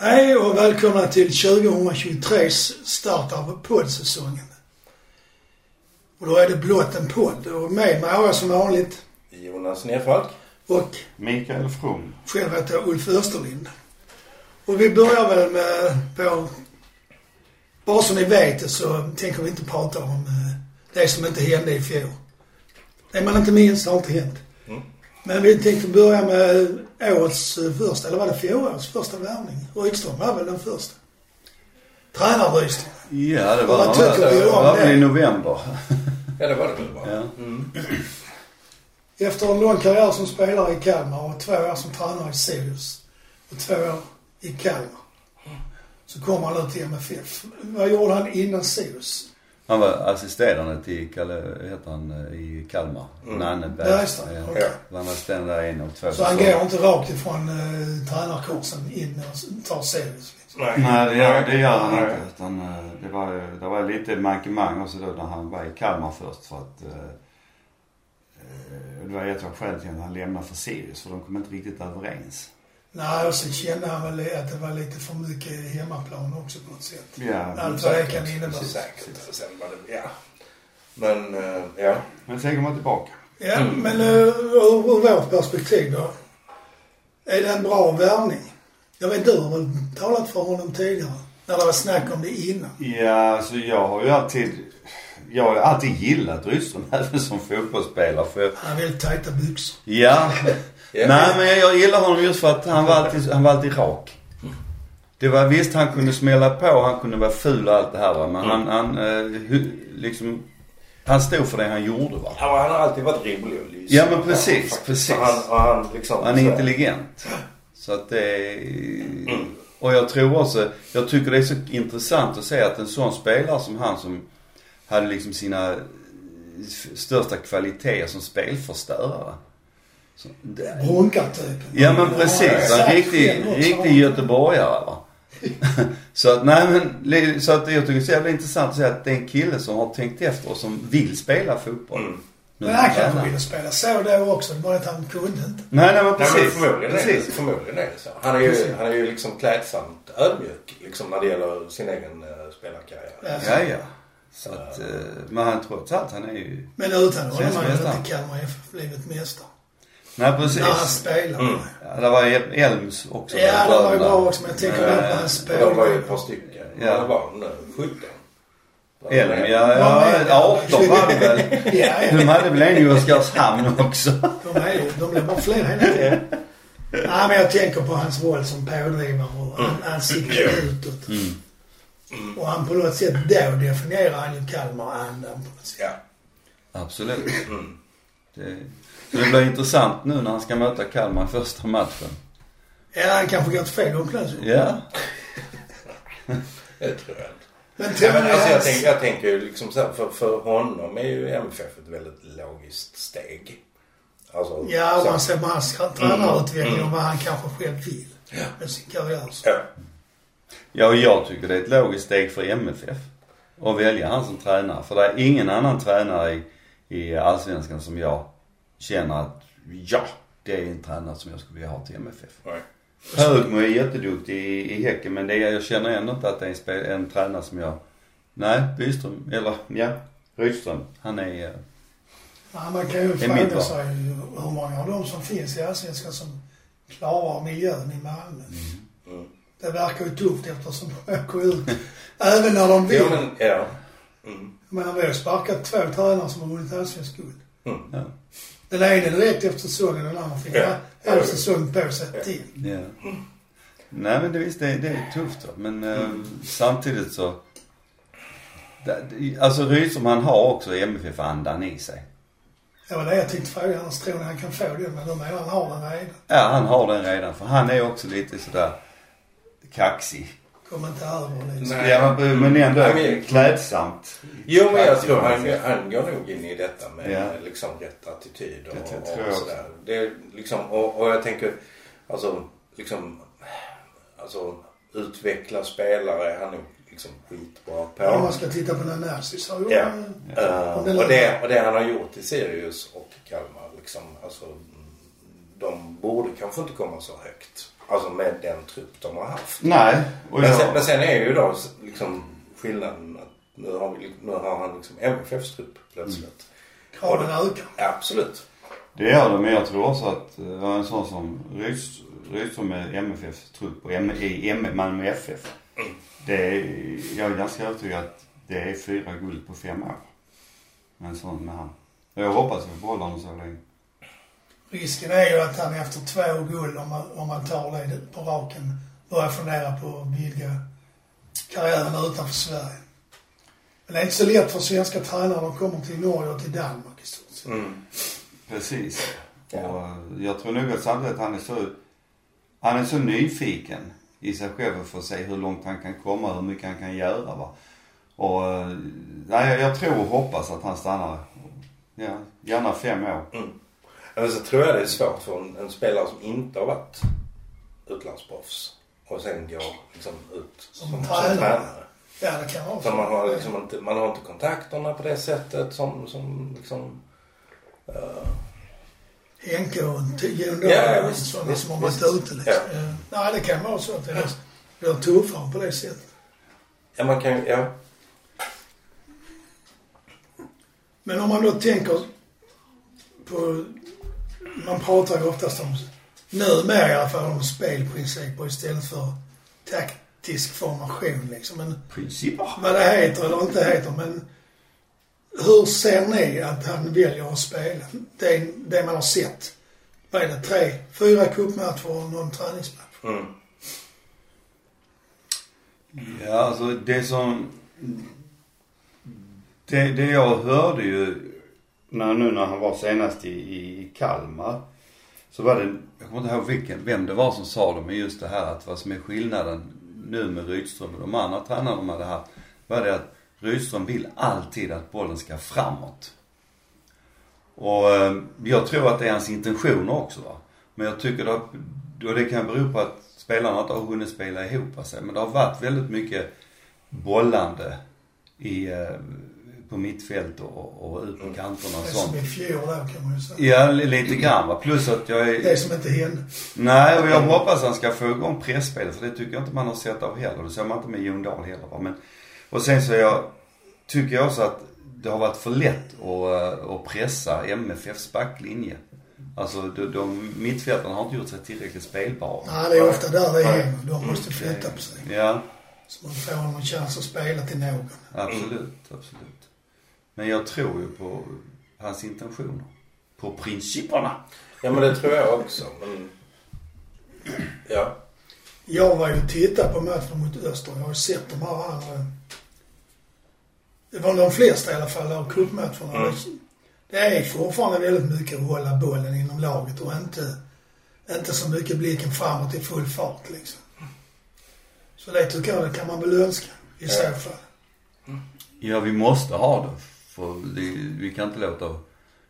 Hej och välkomna till 2023s start av poddsäsongen. Och då är det blott en podd och med mig har jag som vanligt Jonas Nerfalk. och Mikael From. själv heter jag Ulf Österlind. Och vi börjar väl med på... Bara så ni vet det så tänker vi inte prata om eh, det som inte hände i fjol. Det man inte minns har inte hänt. Men vi tänkte börja med årets eh, första, eller var det fjolårets första värvning? Rydström var väl den första? Tränare Rydström. Ja, eh, det Vad tycker vi om det var väl det? i november. Ja, det var det väl bara. Ja. Efter en lång karriär som spelare i Kalmar och två år som tränare i Sirius och två år i Kalmar. Så kom han ut till MFF. Vad gjorde han innan Sirius? Han var assisterande till Kalle, heter han, eh, i Kalmar. Mm. Nanne Bergström. Bergström, Ja. okej. Han var assisterande där en och två Så han säsonger. går inte rakt ifrån eh, tränarkursen in och tar Sirius. Liksom. Nej, det gör, det gör han inte. Utan, eh, det, var, ju- det var lite mankemang också då när han var i Kalmar först för att eh, eh, det var ett av skälen till att han lämnade för Sirius för de kom inte riktigt överens. Nej, och sen kände han väl att det var lite för mycket hemmaplan också på något sätt. Ja, Allt vad det kan innebära. Precis. Säkert. Sen var det, ja. Men, eh, ja. Men sen kom han tillbaka. Ja, men eh, ur, ur vårt perspektiv då. Är det en bra värvning? Jag vet du har väl talat för honom tidigare? När det var snack om det innan. Ja, alltså jag har ju alltid, jag har ju alltid gillat Rydström även som fotbollsspelare. För jag, Han har väldigt tajta byxor. Ja. Ja. Nej men jag gillar honom just för att han var alltid, han var alltid rak. Det var visst han kunde smälla på, han kunde vara ful och allt det här va. Men han, han eh, hu- liksom, han stod för det han gjorde va. Ja, men han har alltid varit rolig och lysig. Ja, men precis, faktiskt. precis. Och han, och han, liksom, Han är så- intelligent. Så att det är- Mm. Och jag tror också, jag tycker det är så intressant att se att en sån spelare som han som hade liksom sina f- största kvaliteter som spelförstörare. Så, det, Brunkartypen. Ja men precis. En riktig, riktig göteborgare va. så att, nej men, li- så att jag tycker det är så jävla intressant att se att det är en kille som har tänkt efter och som vill spela fotboll. Mm. Nu Men han är han kanske ville tränare. spela så då också. Det var att han kunde inte. Nej, nej men Nej, precis. men förmodligen, Är det, precis. förmodligen är det så. Han är ju, han är ju liksom klädsamt ödmjuk liksom, när det gäller sin egen eh, spelarkarriär. Alltså, Ja, ja. Så att, eh, men han, trots allt, han är ju... Men utan honom Svensk hade mästare. inte Kalmar FF blivit mästare. Nej När han precis. spelade. Mm. Ja, det var El- Elms också. Ja, det var ju bra också. Men jag Eh, tänker bara på hans Och de var ju spelare. ett par stycken. Ja. Ja. Det var eh, de nu? 17? Elm, ja, ja, 18 var det väl. Ja, ja. De hade väl en i Oskarshamn också. De, är, ju- de blir bara fler hela tiden. Nej, men jag tänker på hans roll som pådrivare och Mm. an- ansiktet utåt. Mm. Och han på något sätt, då definierar han ju Kalmar-andan på något sätt. Ja. Absolut. Mm. Det, så det blir intressant nu när han ska möta Kalmar i första matchen. Eller han kanske går åt fel håll plötsligt. Ja. Det tror jag inte. Men till Ja, och men med alltså, jag, hans- tänker, jag tänker ju liksom så här, för, för honom är ju MFF ett väldigt logiskt steg. Alltså, Ja, så, Mm. och man ser på hans tränarutveckling och vad han kanske själv vill med sin karriär. ja. ja, och jag tycker det är ett logiskt steg för MFF att välja han som tränare. För det är ingen annan tränare i, i Allsvenskan som jag känner att, ja, det är en tränare som jag skulle vilja ha till MFF. Nej. Högmo är jätteduktig i, i Häcken men det är, jag känner ändå inte att det är en, spel, en tränare som jag, nej, Byström, eller ja, Rydström, han är, eh, Ja, man kan ju Det är mitt fråga val. sig hur många av dem som finns i Allsvenskan som klarar miljön i Malmö. Mm. Det verkar ju tufft eftersom de åker ut. Även när de vill. Jo, men, ja. Men vi har sparkat två tränare som har vunnit allsvenskt guld. ja, Den ena direkt efter säsongen och den andra fick Ja. en halv säsong på sig till. Ja. Nej men det, visst, det, det är tufft va? men eh, samtidigt så. Det, det- alltså Rydström han har också MFF-andan i sig. Det var det jag tänkte fråga. Annars tror ni han kan få den. Men de menar han har den redan. Ja han har den redan för han är också lite sådär kaxig. Kommer inte över liksom. Nej. Ja, men, men Ja, men- ändå klädsamt. jo, men jag Faktiskt, tror han, faktiskt. han går nog in i detta med Ja. liksom rätt attityd och, Det tror jag och också. sådär. Det är liksom, och, och jag tänker, alltså, liksom, alltså utveckla spelare, han är liksom skitbra på. Om man ska titta på den här så har ju- Ja. Om Eh, den och, låter- det, och det han har gjort i Sirius och Kalmar liksom, alltså, mm, de borde kanske inte komma så högt. Alltså med den trupp de har haft. Nej. Och Men sen, men jag, sen är ju då s- liksom skillnaden att nu har, vi, nu har han liksom MFFs trupp plötsligt. Kraven ökar. Ja, absolut. det gör det, men jag tror också att eh, en sån som Rydström- Rydström med MFF trupp och M- i M- Malmö FF. Det är, jag är ganska övertygad att det är fyra guld på fem år. Med en sån med han. Och jag hoppas att vi behåller honom så länge. Risken är ju att han efter två guld, om man, om man tar det på raken, börjar fundera på att vidga karriären utanför Sverige. Men det är inte så lätt för svenska tränare de kommer till Norge och till Danmark i stort sett. Mm. Precis. Ja. Och eh, jag tror nog att samtidigt han är så, han är så nyfiken i sig själv för att se hur långt han kan komma, hur mycket han kan göra va. Och eh, nej, jag- jag tror och hoppas att han stannar, ja, gärna fem år. Men så tror jag det är svårt för en, en spelare som inte har varit utlandsproffs och sen går liksom ut som, som tränare. tränare. Ja, det kan vara För man har liksom inte, man har inte kontakterna på det sättet som, som liksom... Henke och en tio Ja, ja, ungdomar och visst, sådana visst, som har varit visst. ute liksom. Ja. Eh, Nej, det kan vara så att det är- blir tuffare på det sättet. Ja, man kan ju, ja. Men om man då tänker på... Man pratar ju oftast om, numera i alla fall, om spelprinciper istället för taktisk formation liksom. Men Principer. vad det heter eller inte heter, men hur ser ni att han väljer att spela? Det, det man har sett. Vad är det? Tre, fyra cupmatcher och någon träningsmatch? Mm. Ja, alltså det som... Det, det jag hörde ju när, nu när han var senast i, i Kalmar. Så var det, jag kommer inte ihåg vilken, vem det var som sa det, men just det här att vad som är skillnaden nu med Rydström och de andra tränarna de hade haft. Var det att Rydström vill alltid att bollen ska framåt. Och eh, jag tror att det är hans intentioner också va. Men jag tycker att, och det kan bero på att spelarna inte har hunnit spela ihop sig. Men det har varit väldigt mycket bollande i, eh, på mittfält och, och ut på kanterna Mm. och Det är sånt. som i fjol där kan man ju säga. Ja, li- lite grann va. Plus att jag Det är... som inte hände. Nej, och jag hoppas han ska få igång pressspelet för det tycker jag inte man har sett av heller. Det ser man inte med Jon Dahl heller va. Men, och sen så är jag, tycker jag också att det har varit för lätt att, eh, att pressa MFFs backlinje. Alltså de, de mittfältarna har inte gjort sig tillräckligt spelbara. Nej, det är ofta där det händer. De måste flytta på sig. Ja, Så man får någon chans att spela till någon. absolut, absolut. Men jag tror ju på hans intentioner. På principerna. Ja men det tror jag också. Men... Ja. Jag var ju och tittade på matchen mot Öster. Jag har ju sett de här andra. Det var de flesta i alla fall av cupmatcherna. Mm. Det är fortfarande väldigt mycket att hålla bollen inom laget och inte, inte så mycket blicken framåt i full fart liksom. Så det tycker jag, det kan man väl önska i så Ja. fall. Ja, vi måste ha det. För det, vi kan inte låta...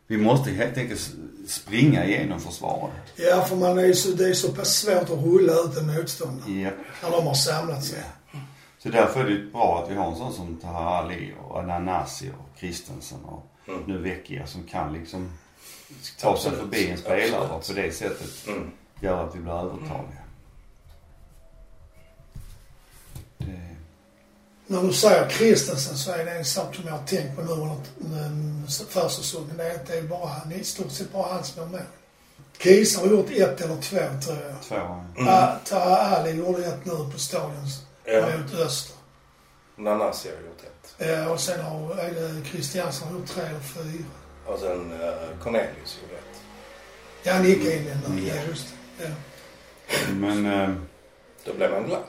Vi måste helt enkelt s- springa igenom försvaret. Ja, för man är ju så, det är så pass svårt att rulla ut en Mm. motståndare Japp. när de har samlat sig. Så därför är det ju bra att vi har en sån som Tahar Ali och Ananasi och Christensen och Mm. nu Vecchia som kan liksom ta sig Absolut. förbi en spelare och på Absolut. det sättet Mm. gör att vi blir övertaliga. Mm. Det, När du säger Kristensen så är det en sak som jag har tänkt på nu under mm, försäsongen. Det är att det är bara han, i stort sett bara han som är med. Kiese har gjort ett eller två tror jag. två, Ah, Taha Ali gjorde ett nu på Stadion Ja. mot Öster. Nanasi har gjort ett. Eh, och sen har är det Christiansen har gjort tre eller fyra. Och sen eh, Cornelius gjorde ett. Ja, han gick in i den där. Mm. Ja, just det. Ja. men... Eh, Då blev man glad.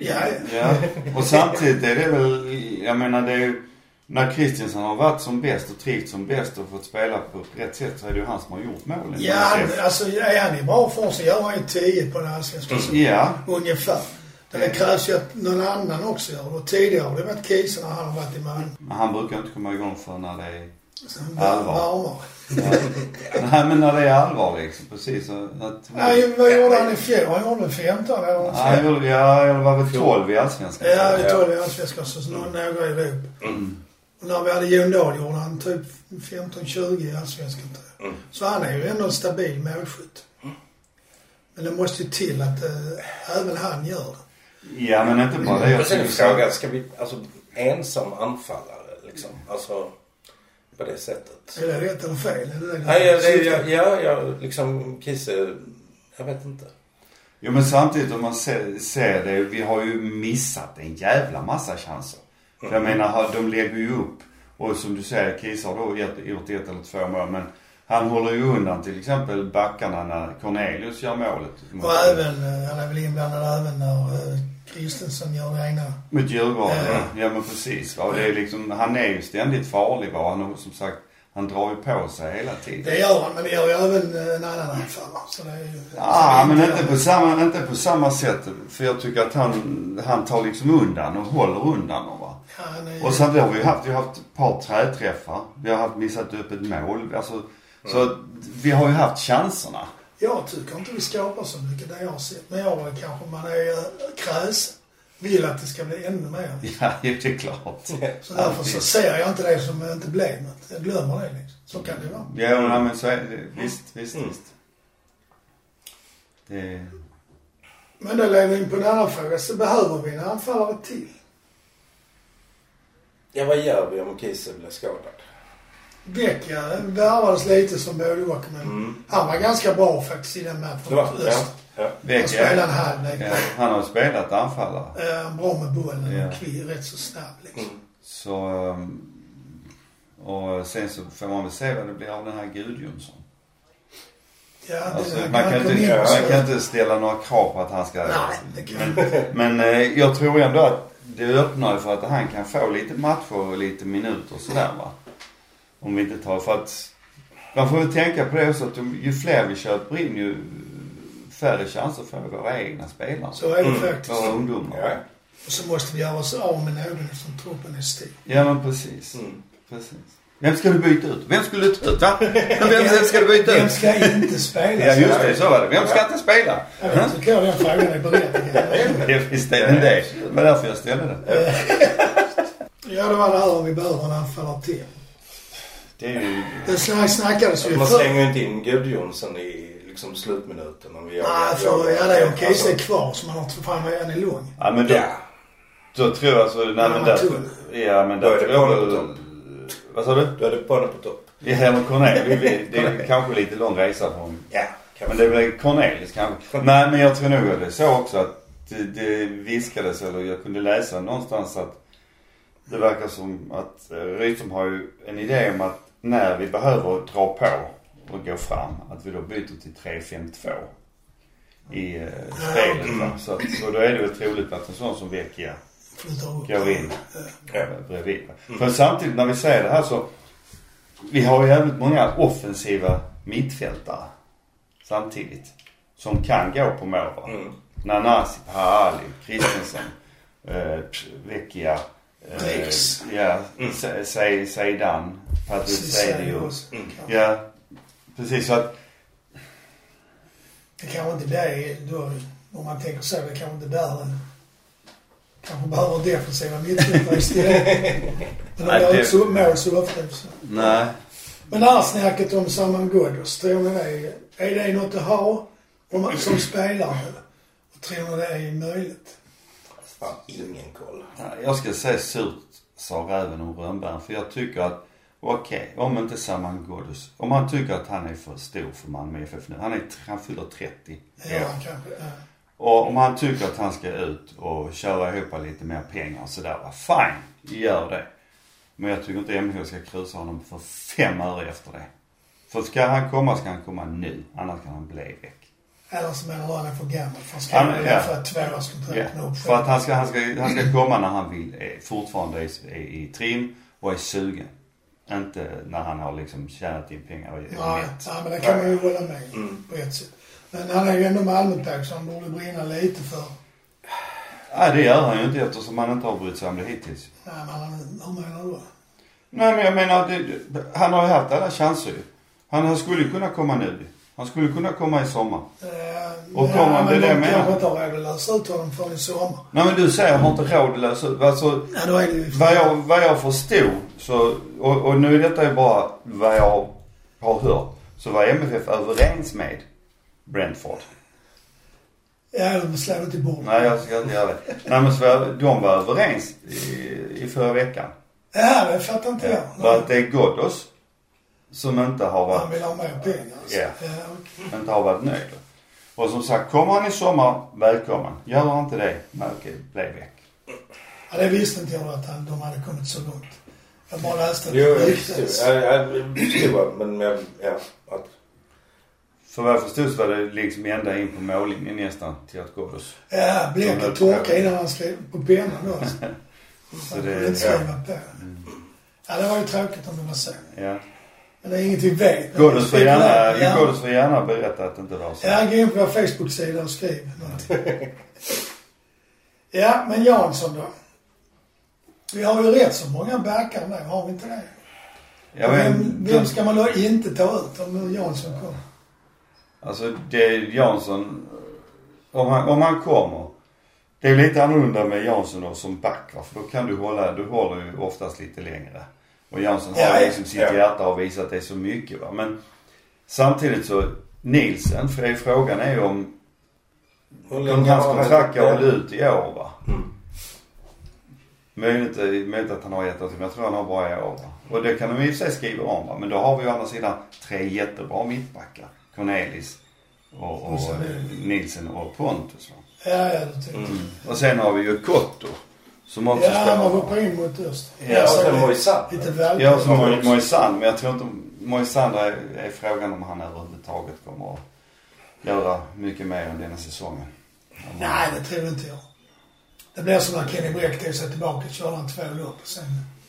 Ja, ja. Ja, och samtidigt är det väl, jag menar det är ju, när Kristiansen har varit som bäst och trivts som bäst och fått spela på rätt sätt så är det ju han som har gjort målen. ja han, alltså, är han i bra form så gör han ju tio på den allsvenska säsongen. Ja, Ungefär. Det krävs ju att någon annan också gör det. Och tidigare har det varit Kiese när han har varit i Malmö. men han brukar inte komma igång för när det är, Sen Allvar. varmare. nej men när det är allvar liksom, precis. så Att, Nej, vad gjorde han i fjol? Han gjorde 15 eller något Ja, sånt. jag, ja, jag var väl 12 i Allsvenskan. Ja, det Ja. tog vi allsvenskan så så några några i Europa. Och när vi hade Jon Dahl gjorde han typ 15-20 i allsvenskan tror jag. Mm. Så han är ju ändå en stabil målskytt. Men det måste ju till att eh, även han gör det. Ja men inte bara det. Och Jag sen är tycker så- frågan, ska vi, alltså ensam anfallare liksom? Alltså på det sättet. Är det rätt eller fel? Är det det Nej, jag, det, jag, jag, jag liksom Kiese, jag vet inte. Jo men samtidigt om man ser, ser det, vi har ju missat en jävla massa chanser. För jag Mm. menar, ha- de lägger ju upp. Och som du säger, Kiese har då gett- gjort ett eller två mål. Men han håller ju undan till exempel backarna när Cornelius gör målet. Mot, Och även, eh, han är väl inblandad även när eh, Kristensen gör det ena. mot Djurgården. Ja. Ja. men precis. Va? Och det är liksom, han är ju ständigt farlig va. Han, har- som sagt, han drar ju på sig hela tiden. Det gör han, men det gör ju även eh, en annan anfallare. Så det är ju... Ja, så det är Ah, men inte på, samma, inte på samma sätt. För jag tycker att han, han tar liksom undan och håller undan dem va. Ja, han är ju- Och sen har vi ju haft, vi har haft ett par träträffar. Vi har haft missat upp ett mål. Alltså, Så att Mm. vi har ju haft chanserna. Jag tycker inte vi skapar så mycket, det jag har sett. Men jag är kanske, man är eh, kräsen. Vill att det ska bli ännu mer. Ja, det är klart. Så därför så ser jag inte det som inte blev något. Jag glömmer det liksom. Så kan det vara. Ja, nej, men så är det. Visst, Mm. visst, visst. Det, Men då leder vi in på en annan fråga. Så behöver vi en anfallare till? Ja, vad gör vi om Kiese blir skadad? Becka eh, värvades lite som målvakt men Mm. han var ganska bra faktiskt i den matchen Det mot var, ja, Öst. ja. Han Vecka- spelade en halvlek. ja, han har spelat anfallare. Eh, bra med bollen Ja. Mm. och kvick, rätt så snabb liksom. Så... ehm, Och sen så får man väl se vad det blir av den här Gudjonsson. Ja, Alltså, det, man, kan kom inte, in och så- man kan inte ställa några krav på att han ska... Nej, det kan men, men eh, jag tror ändå att det öppnar ju för att han kan få lite matcher och lite minuter och sådär va. Om vi inte tar... För att man får väl tänka på det också att de- ju fler vi köper in ju färre chanser får våra egna spelare. Så är det Mm. faktiskt. Våra ungdomar. Ja. Och så måste vi göra oss av med någon eftersom truppen är stor. Ja men precis. Mm. precis. Vem ska du byta ut? Vem skulle du ta ut va? Men vem, vem ska du byta Vem ut? ska inte spela? Ja just det, så var det. Vem ska inte spela? Jag tycker jag den frågan är berättigad. Det visst är den det. Det var därför jag ställde den. ja, det var det här om vi behöver en anfallare till. Det är ju... Det snack, snackades ju Alltså, Man förr. slänger ju inte in Gudjonsson i liksom slutminuten om vi gör Nej, för ja, det är okej. Alltså- så är kvar så man har tagit fram en i lång. Ja men då, Ja, då tror jag så... Nej men där... Ja men Då där är det tror jag Conny på väl... topp. Vad sa du? då är det Ponne på topp. Ja men Cornelius. vi- vi- Det är kanske lite lång resa från... Ja, Men kanske. det blir Cornelius kanske. Nej men jag tror nog att det är så också att det, det viskades eller jag kunde läsa någonstans att det verkar som att eh, Rydström har ju en idé om att när vi behöver dra på och gå fram att vi då byter till 3-5-2 i eh, spelet va? Så att, och då är det väl troligt att en sån som Vecchia Flyttar upp. går in eh, Ja. bredvid. För samtidigt när vi säger det här så vi har ju jävligt många offensiva mittfältare samtidigt. Som kan gå på mål va? Mm. Nanasi, Paali, Kristensen, eh, Vecchia. Eh, Rex. ja, Se- Se- Seidan, Patrice Sedius. Serios. Kanske. Ja, precis så att Det kanske inte det är, då, om man tänker så, det kanske inte är där den kanske behöver defensiva mittfältare istället. Men de Nej, gör det- inte så mål så ofta. Så. nej. Men det här snacket om Saman Ghoddos, tror ni det är, är det något att ha om man, som spelare? Och tror ni det är möjligt? Fan, ingen koll. Nej, Eh, Jag ska säga surt, sa räven om rönnbären. För jag tycker att, okej, om inte Saman Ghoddos, om han tycker att han är för stor för Malmö FF nu. Han, är, han fyller 30 Ja, kanske. eh, Ja. Och om han tycker att han ska ut och köra ihop lite mer pengar och sådär, va, fine, gör det. Men jag tycker inte MH ska krusa honom för fem öre efter det. För ska han komma ska han komma nu, annars kan han bli väck. Eller så menar du att han är för gammal för han Ja, ska men, ju ja. få ett tvåårskontrakt med Ja, för att han ska, han, ska, han ska komma när han vill, eh, fortfarande är, är i trim och är sugen. Inte när han har liksom tjänat in pengar och Nej, mätt. nej, men det kan man ju hålla med mm. på ett sätt. Men han är ju ändå Malmöpåg så han borde brinna lite för... Nej, det gör han ju inte eftersom han inte har brytt sig om det hittills. Nej, men han, hur menar du? Nej, men jag menar, det, det- han har ju haft alla chanser ju. Han, han skulle ju kunna komma nu Han skulle kunna komma i sommar. Eh, Och kommer han bli det men de med? kanske inte har råd att lösa ut honom förrän i sommar. Nej, men du säger, har inte råd att lösa ut. Alltså, Ja, då är det ju... Vad jag, vad jag förstod, så, och, och nu är detta ju bara vad jag har hört. så var MFF överens med Brentford. Ja, de slår inte i bordet. Nej, jag ska inte göra det. Nej, men så var, de var överens i, i förra veckan. Ja, det fattar inte jag. För att det är Ghoddos som inte Han har varit, vill ha mer pengar. alltså. Ja. Ja, okej. inte har varit nöjd. Och som sagt, kommer han i sommar, välkommen. Gör han inte det, Melke, blev väck. ja, det visste inte jag att han, de hade kommit så långt. Jag bara läste Jo, jag ryktes. förstår. Jag jag förstår, men jag, ja, att, För vad jag förstod så var det liksom ända in på mållinjen nästan till att Ghoddos. Ja, De Bleket där- torkade innan han skrev på pennan då. alltså. Så Han det- kunde inte skriva på. Ja, det var ju tråkigt om det var så. Ja. Men det är inget vi vet. Ghoddos får gärna, Ja. Ghoddos får gärna berätta att det inte var så. Ja, gå in på vår Facebook-sida och skriv någonting. ja, men Jansson då. Vi har ju rätt så många backar nu, har vi inte det? Jag vem, vet, vem ska man då inte ta ut om nu Jansson kommer? Alltså det Jansson, om han, om han kommer. Det är lite annorlunda med Jansson då som back va? För då kan du hålla, du håller ju oftast lite längre. Och Jansson har Ja, liksom sitt ja. hjärta och visat det så mycket va. Men samtidigt så, Nielsen, för det är frågan är ju om, hur om länge hans har han- kontrakt Ja. går ut i år va. Mm. Möjligt, eh, möjligt att han har gett ut, men jag tror han har bara i år va? Och det kan de i och för sig skriva om va. Men då har vi å andra sidan tre jättebra mittbackar. Cornelis och, och, Och sen- eh, Nielsen och Pontus va. Ja, ja, det tycker jag. Mm. Och sen har vi ju Kotto. Som också Ja, man spelar. hoppar in mot öst. Alltså, Ja, och sen Moisander. Lite väl. Ja, och så har vi Moj- också. Moisander. Men jag tror inte Moisander är, är frågan om han överhuvudtaget kommer att göra mycket mer än denna säsongen. Om han- Nej, det tror inte jag. Det blir som när Kenny Breck tog sig tillbaka, körde han två lopp och sen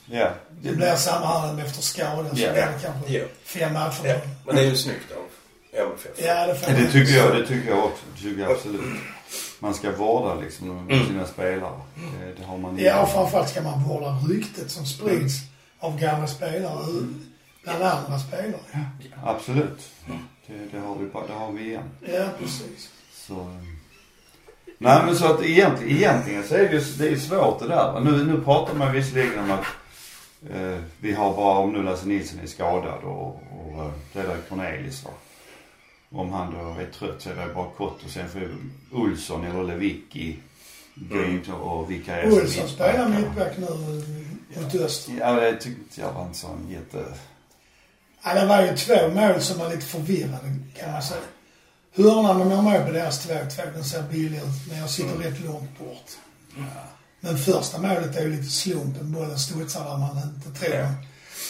Ja. det blir samma här efter skadan så Ja. blir det kanske Ja. fem matcher. för Ja, honom. men det är ju snyggt av MFF. Ja, det får Det tycker jag, det tycker jag också. Det tycker jag absolut. Man ska vårda liksom de- sina spelare. Det, det har man Ja, och framförallt ska man vårda ryktet som sprids av gamla spelare bland andra spelare. Absolut. Det, det, har vi, bara- det har vi igen. Ja, precis. Så... eh. Nej men så att egentligen, egentligen så är det ju det är ju svårt det där. va. Nu, nu pratar man visserligen om att eh, vi har bara, om nu Lasse Nilsson är skadad och, och eh, det är väl Cornelis va. Om han då är trött så är det bara kort och sen får ju Olsson eller Lewicki gå in och vikariera som Olsson spelar mittback, va. mittback nu eh, mot öster. Ja det tyckte inte jag var en sån jätte... Ja, det var ju två mål som var lite förvirrade kan man säga. Hörnan de gör mål på deras 2-2, den ser billig ut, men jag Mm. sitter rätt långt bort. Men första målet är ju lite slumpen, bollen studsar där man inte tror.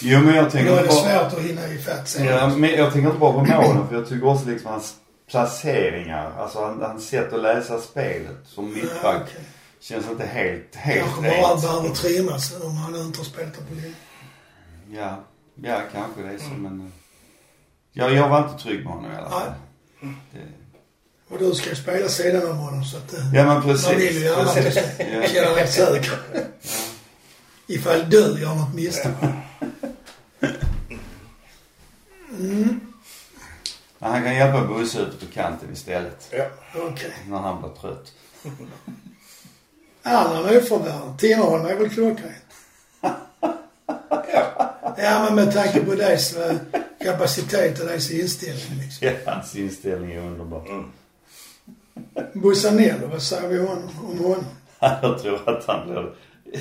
Jo men jag tänker Då är det bara- svårt att hinna ifatt sig. Ja, men jag tänker inte bara på målen för jag tycker också liksom hans placeringar, alltså hans han sätt att läsa spelet som mittback okej. känns inte helt, helt Kanske bara han rent. behöver trimmas om han inte har spelat på länge. Ja, ja kanske det är så men... eh, Ja, jag var inte trygg med honom i alla fall. Det, Och du ska ju spela sidan om honom så att... eh, ja men Man vill ju precis. gärna att du ska Ja. känna dig säker. Ifall du gör något misstag. Men han kan hjälpa Bosse ute på kanten istället. Ja. Okej. När han blir trött. Alla nyförvärv. Tinnerholm är väl klockren? ja, men med tanke på deras eh, kapacitet och deras inställning liksom. Ja, hans inställning är underbar. Busanello, vad säger vi om, om honom? Jag tror att han blir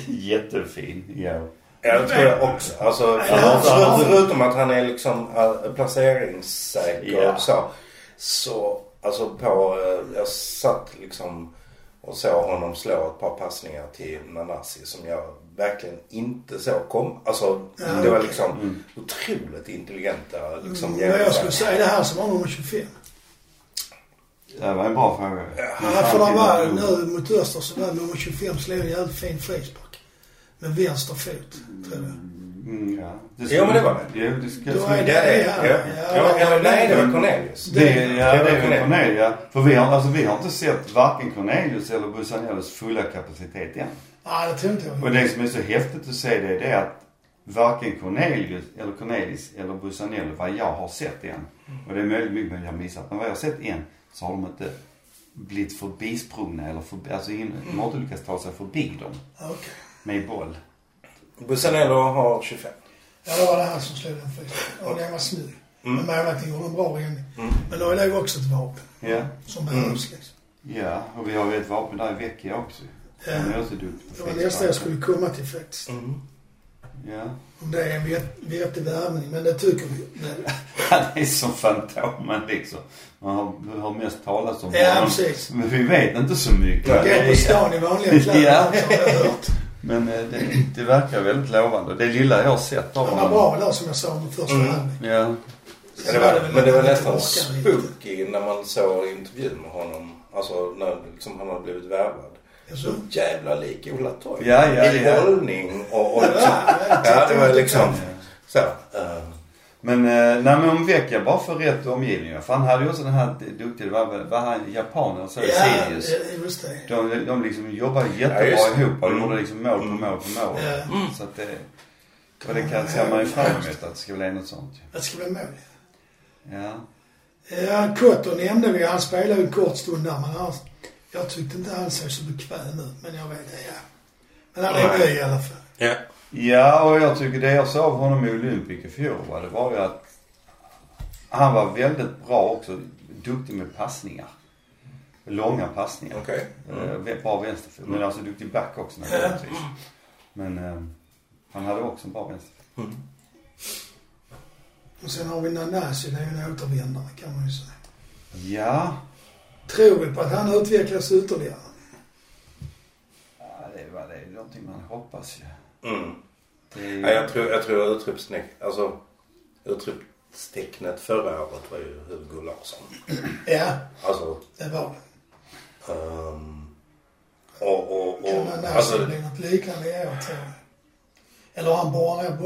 jättefin i år. Jag tror jag också. Alltså, alltså, alltså, förutom att han är liksom äh, placeringssäker Ja. så. Så alltså på, eh, jag satt liksom och såg honom slå ett par passningar till Nanasi som jag verkligen inte såg kom. Alltså Ja, det var okej. liksom otroligt intelligenta liksom Mm, jag skulle säga det här som var nummer 25. Det var en bra fråga. Ja, för det var nu mot Öster så var nummer 25 slog en jävligt fin frispark. Med vänster fot, tror jag. Mm, ja. Det Ja, men det var det. Ja, det ska, Då är Ja, det är, ja. Ja, Ja, det var- nej, det var Cornelius. Det, ja, det är Cornelius. väl Cornelia. För vi har, alltså, vi har inte sett varken Cornelius eller Busanellos fulla kapacitet än. Nej, det tror inte jag. Och det som är så häftigt att se det, det är att varken Cornelius eller Cornelis eller Busanello, vad jag har sett än. Och det är möjligt mycket möjligt jag har missat. Men vad jag har sett än så har de inte blivit förbisprungna eller förbi, alltså in, de har inte lyckats ta sig förbi dem Okej. med boll. Busanello har 25. Ja, det var det här som slog den frisparken. Och den var snygg. Men målvakten gjorde en bra räddning. Mm. Men då är det ju också ett vapen Ja. som behövs liksom. Ja, och vi har ju ett vapen där i Vecchia också. Han är Eh, också duktig Det på var nästa jag frisparkar. skulle komma till faktiskt. Mm. Ja. Om det är en vet- vettig värvning, men det tycker vi. Det, Han är som Fantomen liksom. Man har, har mest talat om ja, precis. Men vi vet inte så mycket. Ja, Gå på stan i vanliga kläder, Ja. har jag hört. Men eh, det, det verkar väldigt lovande. Det lilla jag har sett av Han var honom. bra där som jag sa om första Mm. halvlek. Ja, Men det var, men det var nästan spooky. spooky när man såg intervjun med honom. Alltså när liksom han hade blivit värvad. Så jävla lik Ola Toivonen Ja, ja, i ja. hållning och, och liksom, Ja, det var liksom så. eh, Men, eh, nej men om Vecchia bara för rätt omgivning. ja. För han hade ju också den här duktiga, det var, väl- var han japaner så Ja, Sirius. ja, just det. De, de liksom jobbade Ja, jättebra just det. ihop och Mm. gjorde liksom mål på mål på mål. Ja. Så att det, och det kan, ser man ju fram emot att det ska bli något sånt ju. Det ska bli mål. Ja. Ja, Kotter nämnde vi. Han spelade ju en kort stund där, men han, jag tyckte inte han såg så bekväm ut. Men jag vet inte, ja. Men han är Nej. ny i alla fall. Ja. Ja, och jag tycker det jag såg av honom i Olympic i fjol va, det var ju att han var väldigt bra också. Duktig med passningar. Långa passningar. Okej. Mm. Eh, vä- bra vänsterfot. Men alltså duktig back också naturligtvis. Men eh, han hade också en bra vänsterfot. Och sen har vi Nanasi, det är ju en återvändare kan man ju säga. Ja, Tror vi på att han utvecklas ytterligare? ja, det var det är någonting man hoppas ju. Mm. Det är ju... Ja, jag tror, jag tror utropstecknet, alltså utropstecknet förra året var ju Hugo Larsson. Ja, Alltså, det var det. ehm, och, och, Kan och, Nanasi alltså, bli något liknande i år tror jag? Eller har han bara ner på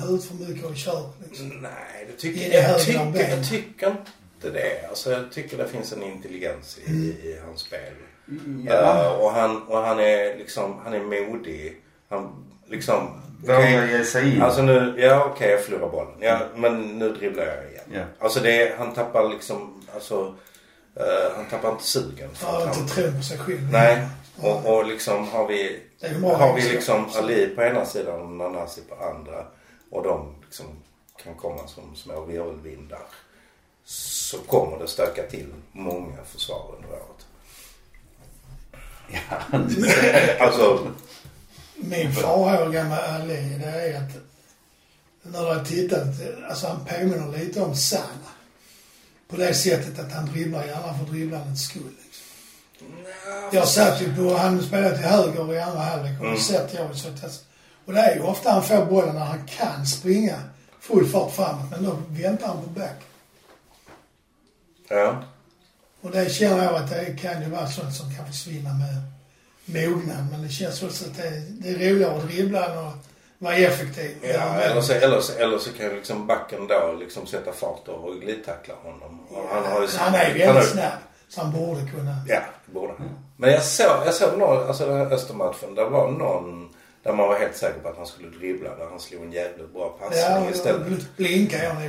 huvudet för mycket och kör liksom? nej, det I tycker, det jag, högra tycker, benet. jag tycker inte det. Alltså, jag tycker det finns en intelligens i, Mm. i hans spel. ja. Eh, och, han, och han är liksom, han är modig. Han liksom... Våga ge sig in. Alltså nu, ja okej jag förlorar bollen. Ja, men nu dribblar jag igen. Ja. Alltså det, är- han tappar liksom, alltså eh, han tappar inte sugen. Han har inte tro på sig själv. Nej, och, och liksom har vi, Det är ju många har vi egenskaper, liksom så. Ali på ena sidan och Nanasi på andra och de liksom kan komma som små virvelvindar så kommer det stöka till många försvar under året. Ja, Alltså, Min farhåga med Ali, det är att när jag har tittat, alltså han påminner lite om Sanna. På det sättet att han dribblar gärna för dribblandets skull. Liksom. Jag satt ju på, han spelade till höger i andra halvlek och då satt jag och så att jag, Och det är ju ofta han får bollen när han kan springa full fart framåt, men då väntar han på back. ja. Och det känner jag att det kan ju vara sånt som kan försvinna med mognad. Men det känns också att det, det är roligare att dribbla än att vara effektiv. Ja, eller så, eller, så, eller så kan ju liksom backen då liksom sätta fart och glidtackla honom. Och han, har ju, Han är ju han har väldigt snabb. Så han borde kunna... Ja, det borde han. Men jag såg, jag såg någon, alltså den här Östermatchen, där var någon där man var helt säker på att han skulle dribbla. Där han slog en jävligt bra passning Ja, istället. då blinkar jag nog.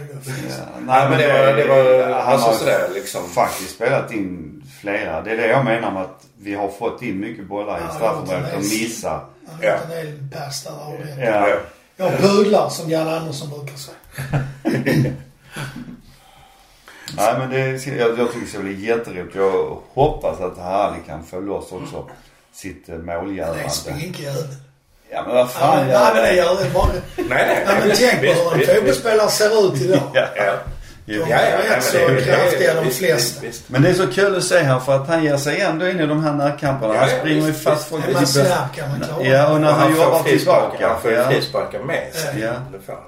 Nej, men det var- det var- alltså har sådär, liksom. faktiskt spelat in flera. Det är det jag menar med att vi har fått in mycket bollar Ja, i straffområdet och det är- missar. Han har Ja. gjort en del pass där och det. Ja. Ja. Jag pudlar som Janne Andersson brukar säga. Nej men det, ska- jag, jag tycker det ska bli jätteroligt. Jag hoppas att Harry kan få loss också Mm. sitt eh, Han är målgörande. spinkig i huvudet. Ja men vad Ja, fan. Nej, jag- men det gör det bara. Nej, nej, Nej, men nej. tänk på Visst, hur en visst, fotbollsspelare ser ut idag. Ja. Ja. De Ja, ja, är rätt nej, men det- så kraftiga de visst, flesta. visst, visst. Men det är så kul att se här för att han ger sig ändå in i de här närkamperna. Ja, Han ja, springer ju visst, fast visst. folk Är man snabb kan man klara Ja och när Och han, han jobbar får frisparkar, tillbaka. han får ju ja. frisparkar med sig. Ja. Det får han.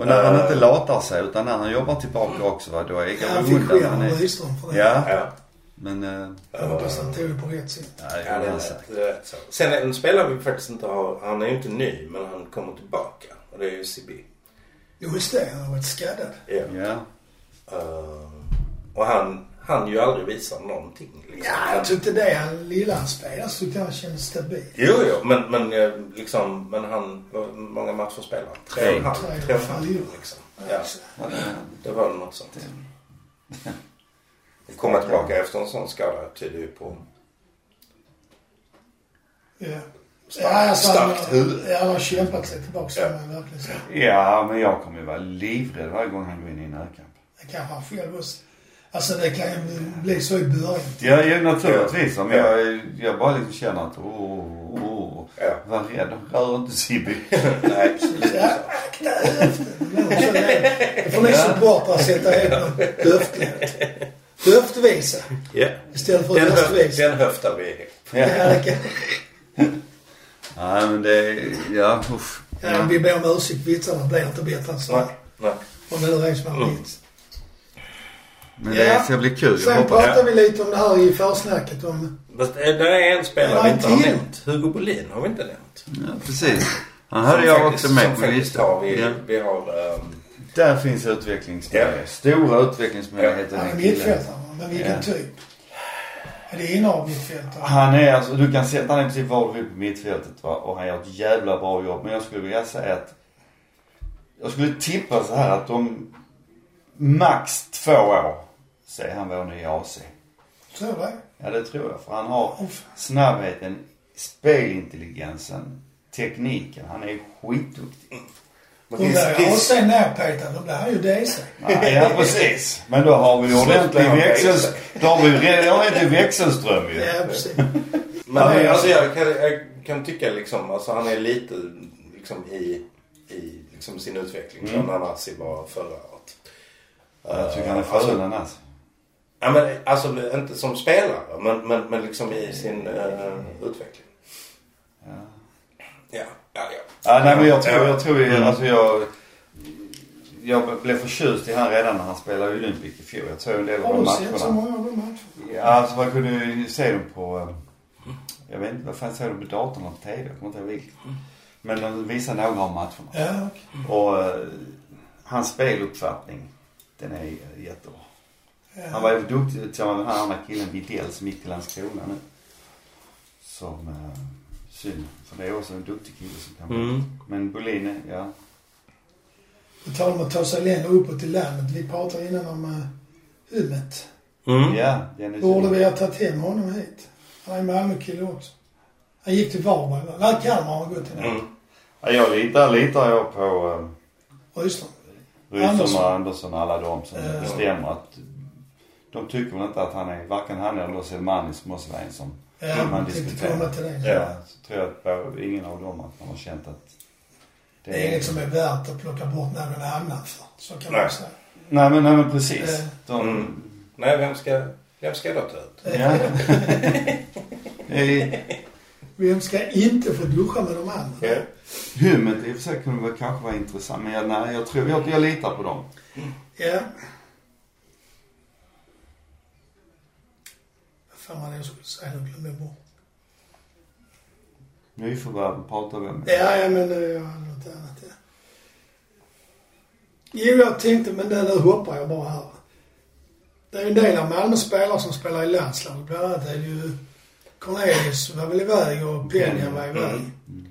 Och när han inte latar sig utan när han jobbar tillbaka också va, då är Ja, kanske Han fick hunden skärm han av är. Rydström för det. Ja, Ja. men... eh, Jag hoppas han tog det på rätt sätt. Nej, Ja, det är rätt, det är rätt så. Sen en spelare vi faktiskt inte har, han är ju inte ny, men han kommer tillbaka. Och det är ju Sibi. Jo, just det. Han har varit skaddad. Ja. Ja. Eh, och han, han ju aldrig visar någonting. Liksom. Ja, jag tyckte det. Han lilla han spelade så tyckte jag han kändes stabil. Jo, jo, men, men eh, liksom, men han, hur många matcher spelar han? Tre och en halv, Tre och en tre och en halv halv. liksom. Ja, det var väl något sånt. Att Komma tillbaka efter en sån skada tyder ju på... Ja. Starkt- Ja, alltså, han har- starkt huvud. Ja, han har kämpat sig tillbaka. Ja. Ja. Verkligen. så. ja, men jag kommer ju vara livrädd varje gång han går in i en närkamp. Det kanske han själv också. Alltså det kan ju bli så i början. Ja, ju, naturligtvis. Men jag, jag bara liksom känner att åh, oh, oh, Ja. var rädd. Rör inte Sibby. Nej, precis. Ja, akta höften. Men så där. Då får ni supportrar sätta ihop någon höftled. Höftvisa Ja. istället för Den, höf, höftvisa. den höftar vi. Ja, Ja. det kan- Nej, men det... Ja, usch. ja, vi ber om ursäkt. Vitsarna blir inte bättre än så Nej, Mm. här. nej. Om det nu är som en vits. Men det ska bli kul. Jag Sen hoppas... pratade vi lite om det här i försnacket om... Fast, eh, där är en spelare Ja, vi inte har till. nämnt. Hugo Bolin har vi inte nämnt. Ja, precis. Han hade jag faktiskt- också med som på faktiskt Har listan. vi, Ja. vi har... ehm, Där finns utvecklingsmöjligheter. Ja. Stora utvecklingsmöjligheter. Han är den killen. mittfältare, men vilken Ja. typ? Är det innehav mittfältare? Han är alltså, du kan sätta honom i princip var du vill på mittfältet va? och han gör ett jävla bra jobb. Men jag skulle vilja säga att jag skulle tippa så här att om max två år så är han vår nya AC. Så är det. Ja det tror jag för han har Uff. snabbheten, spelintelligensen, tekniken. Han är skitduktig. men Om finns- det är finns- AC närpetad, då blir han ju DC. Ja, ja precis. Men då har vi ju ordentlig Släpper han växels... Då har vi re- ordentlig växelström ju. Ja, precis. Men Ja, men- alltså, jag, kan, jag kan tycka liksom, alltså han är lite liksom i, i liksom sin utveckling från när Nanasi var förra året. Jag tycker han är Eh, alltså, före den alltså. Ja men alltså inte som spelare men, men, men liksom Mm. i sin eh, utveckling. Ja. Ja, ja. Ja, nej, men jag tror, Ja. Mm. jag tror ju, alltså jag... Jag blev förtjust i han redan när han spelade i Olympic i fjol. Jag såg en del Har av de du sett så matcherna. många av de matcherna? Ja, alltså man kunde ju se dem på... eh, Jag vet inte, vad fan såg de på datorn eller på TV? Jag kommer inte ihåg vilket. Men de visade några av matcherna. Ja, okej. Och eh, hans speluppfattning, den är eh, jättebra. Han Ja. var ju duktig tillsammans med den här andra killen Widell som gick till Landskrona nu. Som, eh, synd. För det är också en duktig kille som kan Mm. Men Bolin, ja. På tal om att ta sig längre uppåt i landet. Vi pratade innan om uh, Hummet. Mm. Ja, Jenny Borde vi ha tagit hem honom hit? Han är Malmökille också. Han gick till Varberg. va? Nej, Kalmar har han gått till. Mm. Ja, jag litar, litar jag på eh, Ryssland. Rydström Andersson. och Andersson och alla de som Ja. bestämmer att de tycker väl inte att han är, varken han eller Selmani som måste vara en som Ja, man jag tänkte komma till det. Ja, så tror jag att både- ingen av dem att man har känt att Det är inget som är värt att plocka bort någon annan för. Så kan man Nej. säga. Nej men, nej, men precis. Ja. De, Mm. Nej, vem ska, vem ska jag då ta ut? Ja. Eh, Vem ska inte få duscha med de andra? Ja. Hummet i och för sig kunde väl kanske vara intressant men jag, nej, jag tror jag, jag litar på dem. Ja. Vad fan var det jag skulle säga? Nu glömde jag bort. Nyförvärven pratar vi om. Ja, ja, men det var något annat. Ja. Jo, jag tänkte, men det, nu hoppar jag bara här. Det är ju en del av Malmös spelare som spelar i landslaget. Bland annat är det ju Cornelius var väl iväg och Peña var iväg. Mm.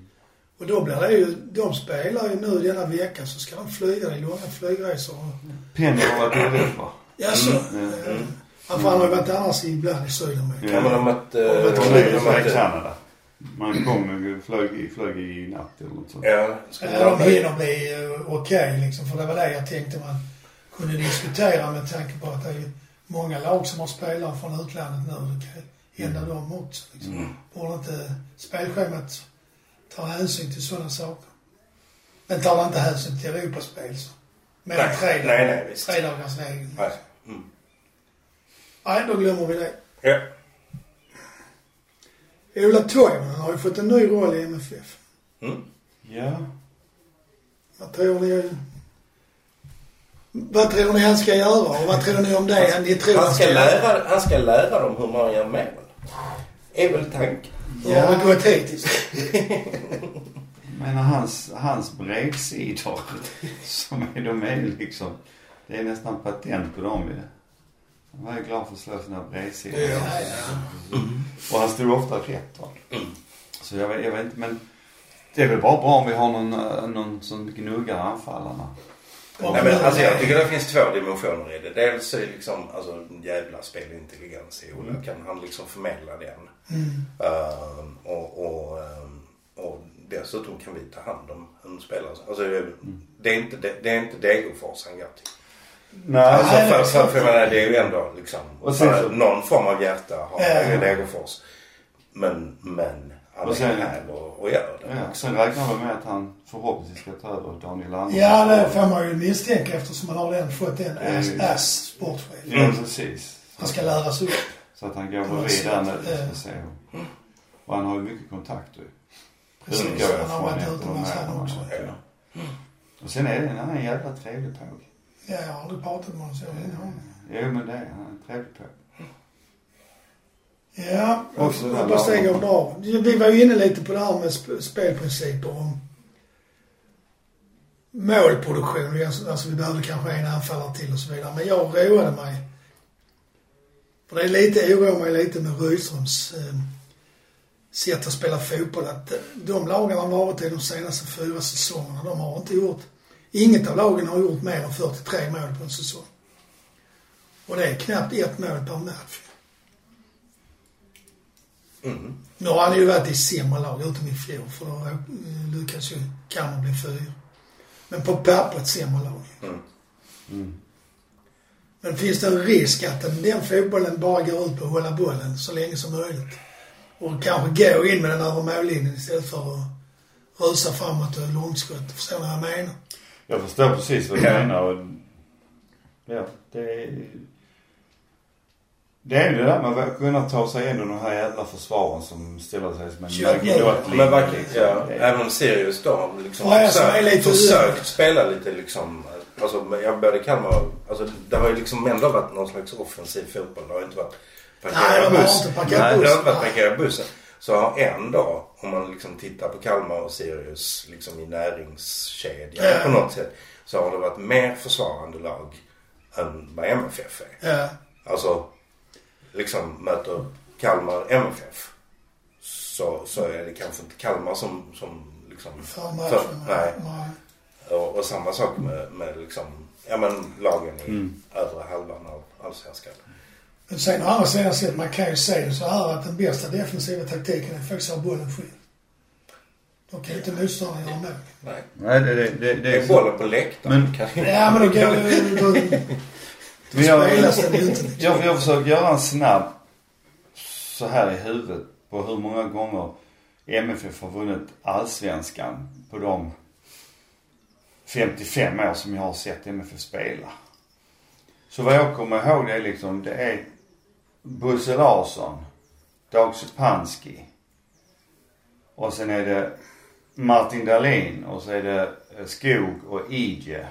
Och då blir det ju, de spelar ju nu denna veckan så ska de flyga, det är långa flygresor. Penny har varit i Europa. Jaså? Mm, mm, eh, ja, för han har ju varit annars ibland i Sydamerika. Ja, men de att... eh, Och vet du, de Hon det är är att- från Kanada. Man kom och flög, i- flög i natt eller något sånt. Ja, ska Eh, vi Ja, dra de hinner bli eh, okej liksom. För det var det jag tänkte man kunde diskutera med tanke på att det är många lag som har spelare från utlandet nu. Det kan hända Mm. dem också. Liksom. Borde inte spelschemat ta hänsyn till sådana saker? Den tar inte hänsyn till Europaspel. Så. Mer än Nej, tre, dagar- nej, nej, visst. tre dagars regeln. Nej. Mm. Nej, då glömmer vi det. Ja. Ola Toivonen har ju fått en ny roll i MFF. Mm. Ja. Vad tror ni... Vad tror ni han ska göra och vad tror ni om det? Ni tror Han ska lära, han ska lära dem hur man gör mål. Är väl tanken. Ja, har det gått hittills? Men hans, hans bredsidor som är, de är liksom, det är nästan patent på dem ju. Han var ju glad för att slå sina bredsidor. Ja, Mm. Och han stod ofta rätt va. Så jag, vet- jag vet inte men det är väl bara bra om vi har någon, eh, någon som gnuggar anfallarna. ja. Nej, men, alltså, jag tycker det finns två dimensioner i det. Dels är det liksom, alltså en jävla spelintelligens i Ola. Kan han liksom förmedla den? Mm. Ehm, och, och, ehm, och dessutom kan vi ta hand om en spelare. Alltså, det, det är inte, det, det är inte Degerfors han går till. Nej. Alltså, Nej, för, för, exakt. för jag menar, det är ju ändå liksom, Och sen för så- någon form av hjärta har Ja. Helge Degerfors. Men, men han Och är sen- här och, och gör det. Ja, sen räknar man med att han förhoppningsvis ska ta över Daniel Andersson. Ja, det får man ju misstänka eftersom man har den fått en Mm. ass- ass-sportchef. Ja, precis. Han ska läras upp. Så att han går Ja, bredvid så där att, med eh, SPCH. Och han har ju mycket kontakter. Precis. Det utgår jag Han har från varit efter utomlands de här han också. Mm. åren. Och sen är det en annan jävla trevlig påg. Ja, jag har aldrig pratat med honom så jag vet inte honom. Jo men det är han. En trevlig påg. Ja, Också den här hoppas det går lagen. bra. Vi var ju inne lite på det här med sp- spelprinciper om målproduktion. Alltså vi behövde kanske en anfallare till och så vidare. Men jag roade mig. För det är lite, oroar mig lite med Rydströms eh, sätt att spela fotboll. Att eh, de lagen han varit i de senaste fyra säsongerna, de har inte gjort... Inget av lagen har gjort mer än 43 mål på en säsong. Och det är knappt ett mål per match. Nu har han ju varit i sämre lag utom i fjol för då eh, lyckades ju Kalmar bli fyra. Men på pappret sämre lag. Mm. Men finns det en risk att den, den fotbollen bara går ut på att hålla bollen så länge som möjligt? Och kanske gå in med den över mållinjen istället för att rusa framåt och långskott. Förstår ni vad jag menar? Jag förstår precis vad du Ja. menar. Och, ja, det är... Det är ju det där med att kunna ta sig igenom de här jävla försvaren som ställer sig som en Kör magnetlinje. Men verkligen, ja. Det är- Även om Sirius då har liksom Ja, alltså, försökt, jag är lite- försökt spela lite liksom. Alltså, men jag började Kalmar, alltså, det har ju liksom ändå varit någon slags offensiv fotboll. Det har ju inte varit Nej, de har buss. inte parkerat Nej, buss. det har inte varit Nej. parkera bussen. Så har ändå, om man liksom tittar på Kalmar och Sirius liksom i näringskedjan Ja. på något sätt. Så har det varit mer försvarande lag än vad MFF är. Ja. Alltså, liksom möter Kalmar MFF. Så, så är det kanske inte Kalmar som, som liksom... För för, matchen. nej. Nej. Och, och samma sak med, med liksom, ja men lagen i övre halvan av allsvenskan. Men sen å andra sidan sett, man kan ju säga så här att den bästa defensiva taktiken är faktiskt att ha bollen själv. Då kan ju inte motståndaren göra mål. Nej. Nej, det, det, Det det, det är bollen på läktaren. Men- kan Ja men då går det... Då, då Men jag- spelas den ju inte. Jag, jag försöker göra en snabb så här i huvudet på hur många gånger MFF har vunnit allsvenskan på de 55 år som jag har sett MFF spela. Så vad jag kommer ihåg det är liksom, det är Bosse Larsson, Dag Supanski och sen är det Martin Dahlin och så är det eh, Skog och Ige.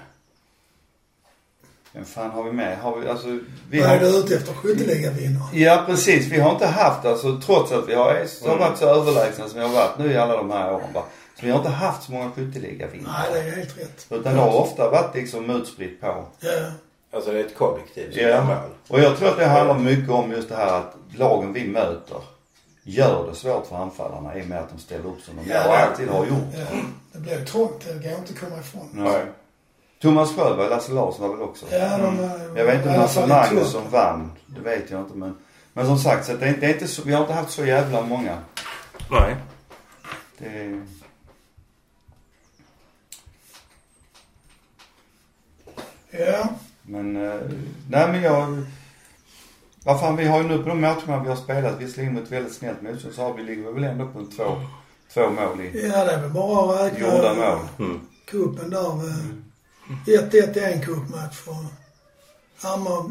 Vem fan har vi med? Har vi, alltså, vi Vad har... är du ute efter? Skytteligavinnare? Ja precis, vi har inte haft alltså trots att vi har, har Mm. varit så överlägsna som vi har varit nu i alla de här åren va. Så vi har inte haft så många skytteligavinnare. Nej det är helt rätt. Utan det har ofta varit liksom utspritt på. Ja. Alltså det är ett kollektiv som gör Ja. mål. Och jag tror att det handlar mycket om just det här att lagen vi möter gör det svårt för anfallarna i och med att de ställer upp som de Ja, gör och det- alltid har gjort. ja. Det blir trångt, det går inte att komma ifrån. Nej. Thomas Sjöberg, Lasse Larsson var väl också? Ja, de Jag vet i inte om alla Lasse fall i trångt. Magnus som vann. Det vet jag inte men. Men som sagt, så att det är inte, det är inte så, vi har inte haft så jävla många. Nej. Det är... Ja. Men, eh, nej men jag... Vad fan, vi har ju nu på de matcherna vi har spelat, visserligen mot väldigt snällt motstånd, så har vi, ligger vi väl ändå på en två, Mm. två mål i Ja det är väl bara att räkna gjorda mål. Mm. cupen där. eh, 1-1 i en cupmatch för Hammar.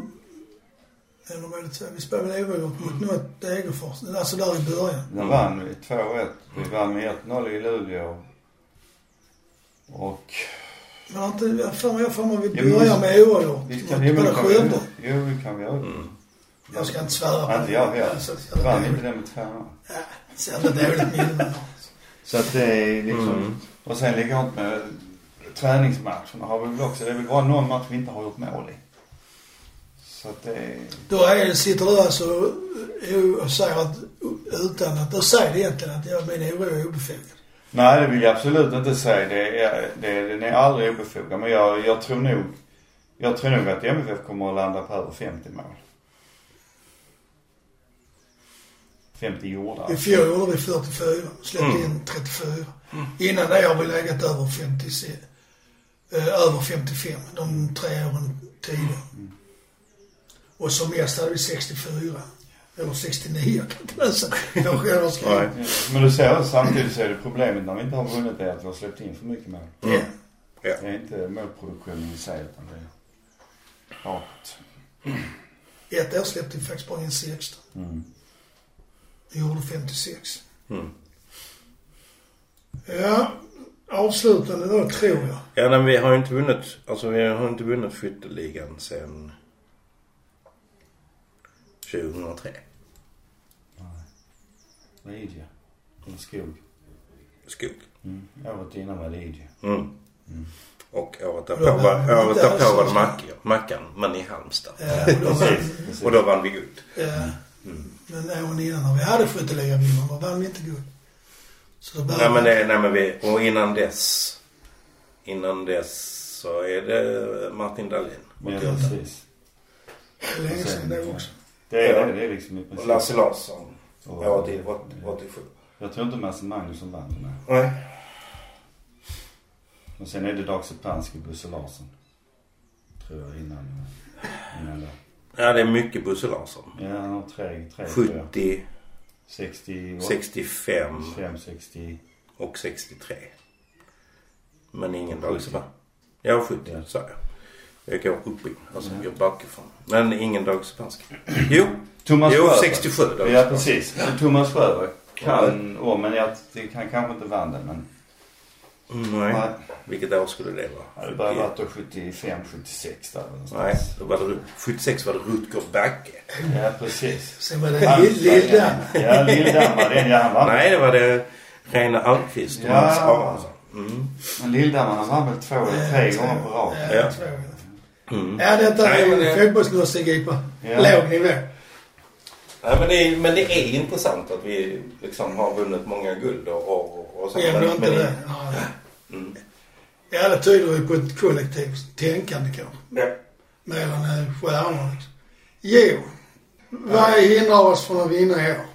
Eller vad är det? två? Vi spelade väl oavgjort mot något Degerfors. Alltså där i början. Där vann vi 2-1. Vi vann med 1-0 i Luleå. Och... Men har inte, jag för mig, jag för mig vi Jo, men börjar med oavgjort. Visst Mot kan vi både kan vi Skövde. Jo, det kan vi göra. Jag ska inte svära på Nej, Inte jag heller. Alltså, så Vi jävla vann inte dåligt. den med 2-0. Ja, Så jävla dåligt minne man har. Så att det är liksom... Och sen likadant med träningsmatcherna har vi väl också. Det är väl bara någon match vi inte har gjort mål i. Så att det är... Då är, sitter du alltså och- och säger att utan att, du säger egentligen att jag, min oro är obefogad. Nej, det vill jag absolut inte säga. Det är, det, den är aldrig obefogad. Men jag, jag tror nog... Jag tror nog att MFF kommer att landa på över 50 mål. 50 gjorda. I fjol gjorde vi 44, släppte Mm. in 34. Innan det har vi legat över 50, eh, över 55. De tre åren tider. Mm. Och som mest hade vi 64. Eller 69, jag kan inte läsa. Jag själv har Nej. skrivit. Men du ser, samtidigt så är det problemet när vi inte har vunnit det att vi har släppt in för mycket mål. Ja. Det är inte målproduktionen i sig utan det är vapnet. Ett år släppte vi faktiskt bara in 16. Mm. Vi gjorde 56. Mm. Ja, avslutande då tror jag. Ja, nej, men vi har ju inte vunnit, alltså vi har inte vunnit skytteligan sen 2003. Vad är det? Eller skog. Skog. Mm. Året innan var det Idje. Mm. Och året därpå Ja, men- var, men året det är därpå var det så- Mackan, Mackan, men i Halmstad. Eh, och då var, Precis. Och då vann vi guld. eh, men åren innan när vi hade skytteligavinnare, då vann vi inte guld. Så då Nej började men, det, nej, men vi, och innan dess, innan dess så är det Martin Dahlin. Ja, precis. det länge sedan det också. Det är Ja. det. Det är liksom i Och princip. Lasse Larsson, Och- året i- åt- 87. Jag tror inte Masse Magnusson vann den här. Nej. Och sen är det Dag Sepanski och Bosse Larsson. Tror jag innan. Innan det. Ja, det är mycket Bosse Larsson. Ja, han har tre, tre tror jag. 70, 68, 65 65, 60. och 63. Men ingen dag Sebastian. Ja, 70 Ja. sa jag. Jag går upp in, alltså jag går bakifrån. Men ingen dag Sebastian. Jo, Thomas jo liksom. Sjöberg. 67 dag Ja, Sebastian. precis. Thomas Sjöberg kan, ja. men jag, det- han kanske inte vann den. Men Mm, Nej, Nej. vilket år skulle det vara? det började varit då 75, 76 där Nej, någonstans. då var det, Rut- 76 var det Rutger Bagge. Ja, precis. Sen var det Lill- Lill-Dan. Ja, Lill-Dan var den. Ja, han vann. Nej, det var det Reine Almqvist och Ja. Mats Aronsson. Mm. Men Lill-Dan, han vann väl två eller tre gånger på raken. Ja, Ja. två gånger. Mm. Ja, detta Nej, men det- är fotbollslustig på Ja. låg nivå. Nej, men, det är, men det är intressant att vi liksom har vunnit många guld och, och, och sånt. Ändå Men- inte men- det. Ja, Mm. Ja, det tyder ju på ett kollektivt tänkande kanske. Ja. Mer än eh, stjärnorna liksom. Jo, vad hindrar oss från att vinna i år?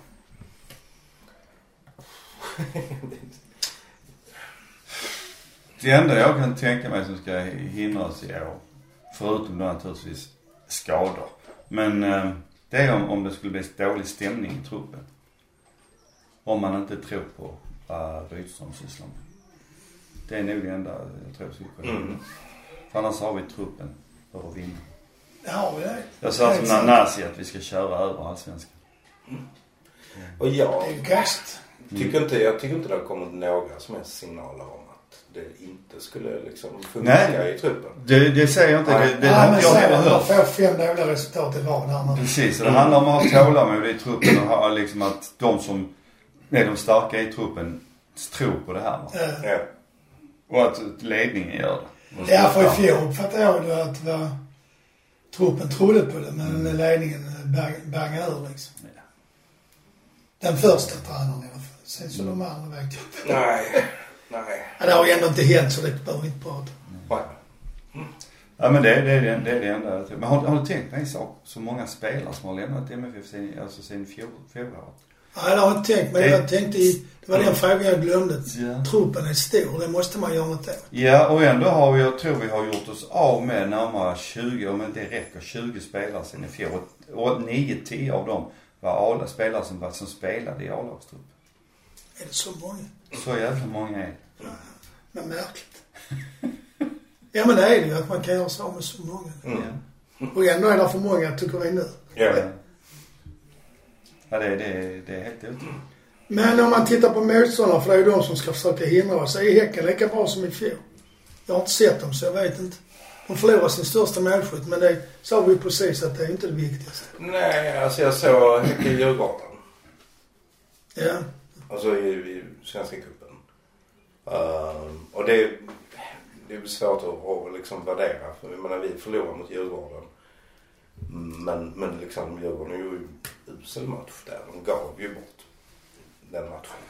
Det enda jag kan tänka mig som ska hindra oss i år, förutom då naturligtvis skador. Men eh, det är om, om det skulle bli dålig stämning i truppen. Om man inte tror på vad Rydström sysslar med. Det är nog det enda jag tror skulle kunna hindra. För annars har vi truppen för att vinna. Ja, det Jag sa som Nanasi att vi ska köra över allsvenskan. Och jag det är ju kast. tycker, inte, jag tycker inte det har kommit några som helst signaler om att det inte skulle liksom funka Nej. i truppen. Det, det säger jag inte. Det, det, Det har ja, inte men jag sen heller att hört. man får fem dåliga resultat i rad här nu. Precis, och det handlar om att ha tålamod i truppen och ha liksom att de som är de starka i truppen tror på det här. Va? Eh, Ja. Och att ledningen gör det. Och Ja, för i stöttar. fjol uppfattade jag det att det var, truppen trodde på det men ledningen eh, bang- bangade ur liksom. Ja. Den första tränaren i alla fall. Sen så de andra vet jag inte. Nej. Nej. Ja, det har ju ändå inte hänt så det behöver vi inte prata om. Ja, men det, det, är det, det är det enda jag tror. Men har, har du tänkt på en sak? Så många spelare som har lämnat MFF sen, alltså sen fjol, fjolåret. Nej, det har jag inte tänkt men jag tänkte i, det var den frågan jag glömde. Ja. Truppen är stor, det måste man göra något åt. Ja, och ändå har vi, jag tror vi har gjort oss av med närmare 20, om inte det räcker, 20 spelare sen i fjol. Och 9-10 av dem var A- spelare som, var- som spelade i A-lagstruppen. Är det så många? Så jävla många är det. Men märkligt. Ja men det är det ju att man kan göra sig av med så många. Ja. Mm. Och ändå är det för många tycker vi nu. Ja. Ja, det, det, det är helt otroligt. Men om man tittar på motståndare, för det är ju de som ska försöka hindra oss, är Häcken lika bra som i fjol? Jag har inte sett dem så jag vet inte. De förlorar sin största målskytt men det sa vi ju precis att det är inte det viktigaste. Nej, alltså jag såg Häcke Djurgården. Ja. Alltså i, i Svenska cupen. Ehm, och det, det är väl svårt att, att liksom värdera. För jag menar vi förlorade mot Djurgården. Men, men liksom Djurgården gjorde ju usel match där. De gav ju bort den matchen.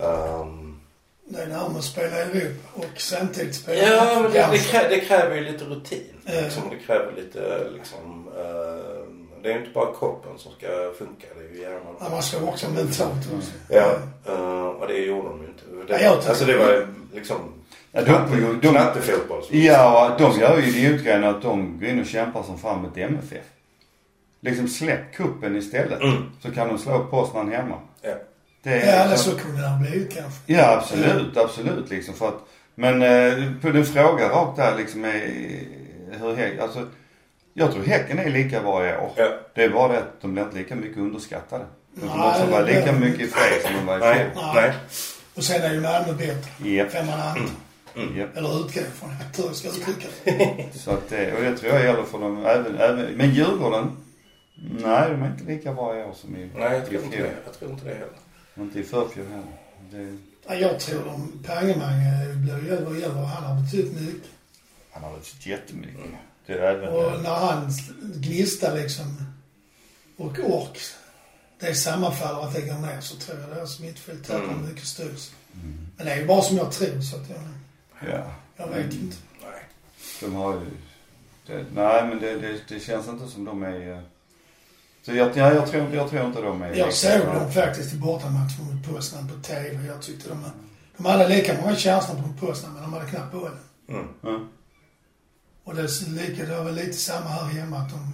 Ehm, Det är närmare att spela i Europa och samtidigt spela ja, men det, det, Ganska. krä, det kräver ju lite rutin. Ja. Liksom, det kräver lite liksom... ehm, det är ju inte bara kroppen som ska funka. Det är ju hjärnan. Ja, man ska också mentalt också. Ja, eh, och det gjorde de ju inte. Nej, Det, jag tycker- alltså det var liksom Ja, de, de, de, Knattefotboll. som- ja, de gör ju idiotgrejen att de går in och kämpar som fan mot MFF. Liksom släpp kuppen istället. Mm. Så kan de slå Poznan hemma. Ja. Det är- Ja, eller så kunde han blivit kanske. Ja, absolut. Absolut liksom. För att, men eh, på din fråga rakt där liksom är hur Häcken, alltså. Jag tror Häcken är lika varje år. Ja. Det är bara det att de blir inte lika mycket underskattade. De kommer Nej, också vara det- lika mycket i fel som de var i Nej, fjol. nej. Och sen är ju Malmö bättre. Japp, Kan man anta. japp. Eller utgå från. Jag tror jag ska uttrycka det. Så att, eh, och det tror jag gäller för dem även, även men Djurgården, nej de är inte lika varje år som i, Nej, jag i tror inte fjol. det. Jag tror inte det heller. Och inte i förfjol heller. Det, Ja, jag tror de Pangemang eh, blir ju över och över. Han har betytt mycket. han har varit jättemycket. Det är även... Och när han gnista liksom och ork, det sammanfaller att det går ner så tror jag deras mittfält tappar Mm. mycket styrelse. Mm. Men det är ju bara som jag tror så att jag, Ja. jag vet Mm. inte. Nej. De har ju... Det, nej, men det, det, det känns inte som de är... eh, Så jag, jag, jag, tror, jag tror inte de är... Jag såg dem faktiskt i bortamatchen mot Poznan på TV. Jag tyckte de, de hade lika många chanser på Poznan men de hade knappt bollen. Mm. Ja. Och det, är lika, det var väl lite samma här hemma att de,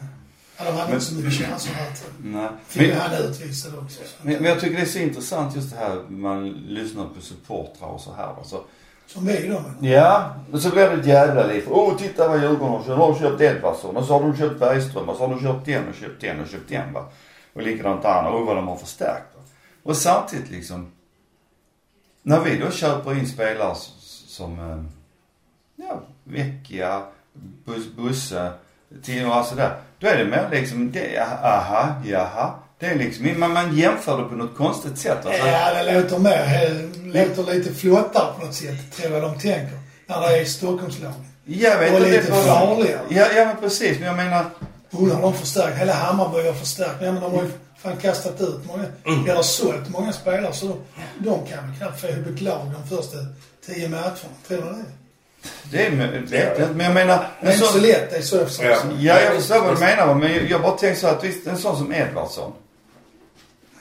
ja, de hade Men- inte så mycket chanser här till. Nej. Fick Men, han utvisad också. Så. men, men jag tycker det är så intressant just det här man lyssnar på supportrar och så här. Alltså, Som vi då men. Ja, och så blir det ett jävla liv. Åh, titta vad Djurgården har köpt. Har köpt Edvardsson och så har de köpt Bergström och så har de köpt den och köpt den och köpt den va. Och likadant andra. Och vad de har förstärkt. Va? Och samtidigt liksom. När vi då köper in spelare s- som eh, ja, Vecchia, bus, Busse, Tino och sådär. Då är det mer liksom, det, aha, jaha. Det är liksom, man, man jämför det på något konstigt sätt. alltså. va. Så- Ja, det låter mer, det låter lite flottare på något sätt, tror jag de tänker. När det är Stockholmslagen. Jag vet Och inte. det är lite bara- farligare. Ja, ja men precis. Men jag menar. Undrar om de förstärkt, hela Hammarby har förstärkt. Nej, men de har ju fan kastat ut många, Mm. eller sålt många spelare så de, de kan väl knappt få ihop ett lag de första tio matcherna. Tror du det? Det är mö- det är, men jag menar... Det är En inte så sån, lätt, det är så jag försöker Ja. säga. ja, jag förstår vad du menar va, men jag- jag bara tänker så att visst, en sån som Edvardsson.